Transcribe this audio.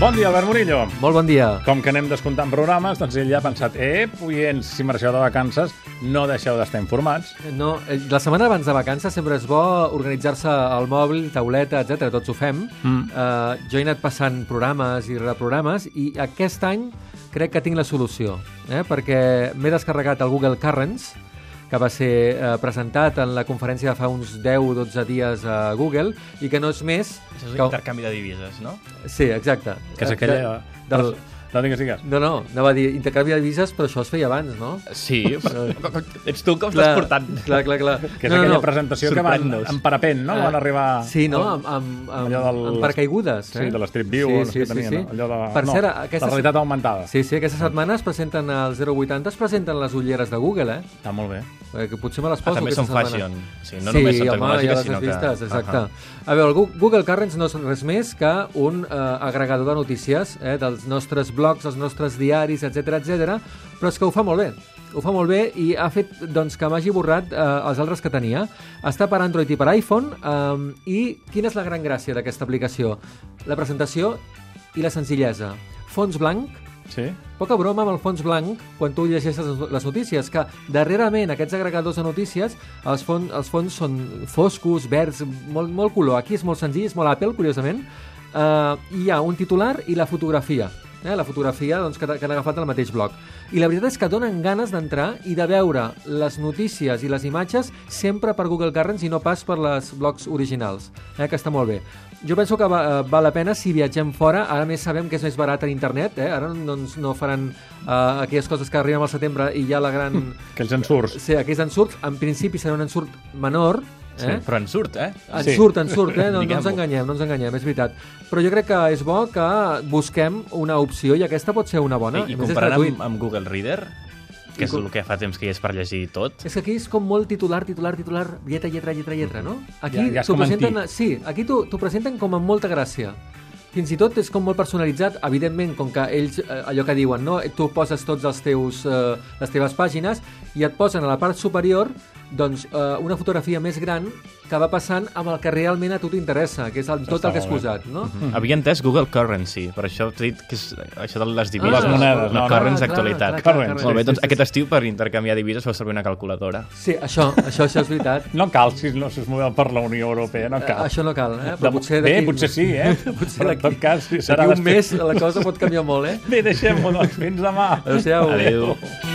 Bon dia, Albert Murillo. Molt bon dia. Com que anem descomptant programes, doncs ell ja ha pensat ep, oients, si marxeu de vacances, no deixeu d'estar informats. No, eh, la setmana abans de vacances sempre és bo organitzar-se al mòbil, tauleta, etc. Tots ho fem. Mm. Eh, jo he anat passant programes i reprogrames i aquest any crec que tinc la solució, eh? perquè m'he descarregat el Google Currents, que va ser eh, presentat en la conferència de fa uns 10-12 dies a Google i que no és més... Això és que... intercanvi de divises, no? Sí, exacte. Eh, Que és aquella... Del... No digues, digues. No, no, anava a dir intercanvi de divises, però això es feia abans, no? Sí, però ets tu que us l'has portat. Clar, clar, clar. Que és no, aquella presentació que van Sorprèn-nos. en parapent, no? Eh, Van arribar... Sí, no? Amb, amb, amb, Allò del- amb paracaigudes. Eh? Sí, de l'Strip View, o no sé què tenien, allò de... Per no, cert, La aquestes... realitat augmentada. Sí, sí, aquesta setmana es presenten al 080, es presenten les ulleres de Google, eh? Està molt bé. Eh, Que potser me les Ah, poso també aquesta són setmana. fashion. Sí, no només són tecnològiques, home, ja sinó les que... has vistes, exacte. A Ah, veure, el Gu- Google Currents no és res més que un eh, agregador de notícies eh, dels nostres blogs, dels nostres diaris, etc etc. però és que ho fa molt bé. Ho fa molt bé i ha fet doncs, que m'hagi borrat eh, els altres que tenia. Està per Android i per iPhone. Eh, I quina és la gran gràcia d'aquesta aplicació? La presentació i la senzillesa. Fons blanc, Sí? Poca broma amb el fons blanc quan tu llegeixes les- les notícies, que darrerament aquests agregadors de notícies, els, fon, els fons són foscos, verds, molt, molt color. Aquí és molt senzill, és molt Apple, curiosament. Uh, hi ha un titular i la fotografia. Eh, la fotografia doncs, que, que han agafat del mateix bloc. I la veritat és que donen ganes d'entrar i de veure les notícies i les imatges sempre per Google Currents i no pas per les blogs originals, eh, que està molt bé. Jo penso que va, eh, val la pena si viatgem fora. Ara més sabem que és més barat a internet, eh? Ara doncs, no faran eh, aquelles coses que arriben al setembre i ja la gran... Que els en surts. Sí, aquells ensurts, en principi serà un ensurt menor, eh? Però en surt, eh? En Sí. surt, en surt, eh? No, no ens Diguem-ho. enganyem, no ens enganyem, és veritat. Però jo crec que és bo que busquem una opció i aquesta pot ser una bona. I, a i més, és comparant gratuït. amb, amb Google Reader, que és el que fa temps que hi és per llegir tot, És que aquí és com molt titular, titular, titular, lletra, lletra, lletra, lletra, no? Aquí Ja- ja és t'ho com presenten, antic. sí, aquí t'ho t'ho presenten com amb molta gràcia. Fins i tot és com molt personalitzat, evidentment, com que ells, eh, allò que diuen, no? tu poses tots els teus, eh, les teves pàgines i et posen a la part superior doncs, eh, una fotografia més gran que va passant amb el que realment a tu t'interessa, que és el, tot el que has molt bé. posat. No? Mm. havia entès Google Currency, per això t'he dit que és això de les divises. Les monedes, no, no, no. currents Clar, clar, d'actualitat. clar, clar, Currents, clar. Molt bé, Sí, doncs sí, sí. aquest estiu per intercanviar divises feu servir una calculadora. Sí, això, això, això és veritat. No cal si no s'es moveu per la Unió Europea, no Eh, cal. Això no cal, eh? De- Però potser Bé, d'aquí- potser sí, eh? Potser Però en d'aquí- tot cas, si serà D'aquí un després. mes la cosa pot canviar molt, eh? Bé, deixem-ho, doncs. Fins demà. Oh. Adéu-siau. Adéu.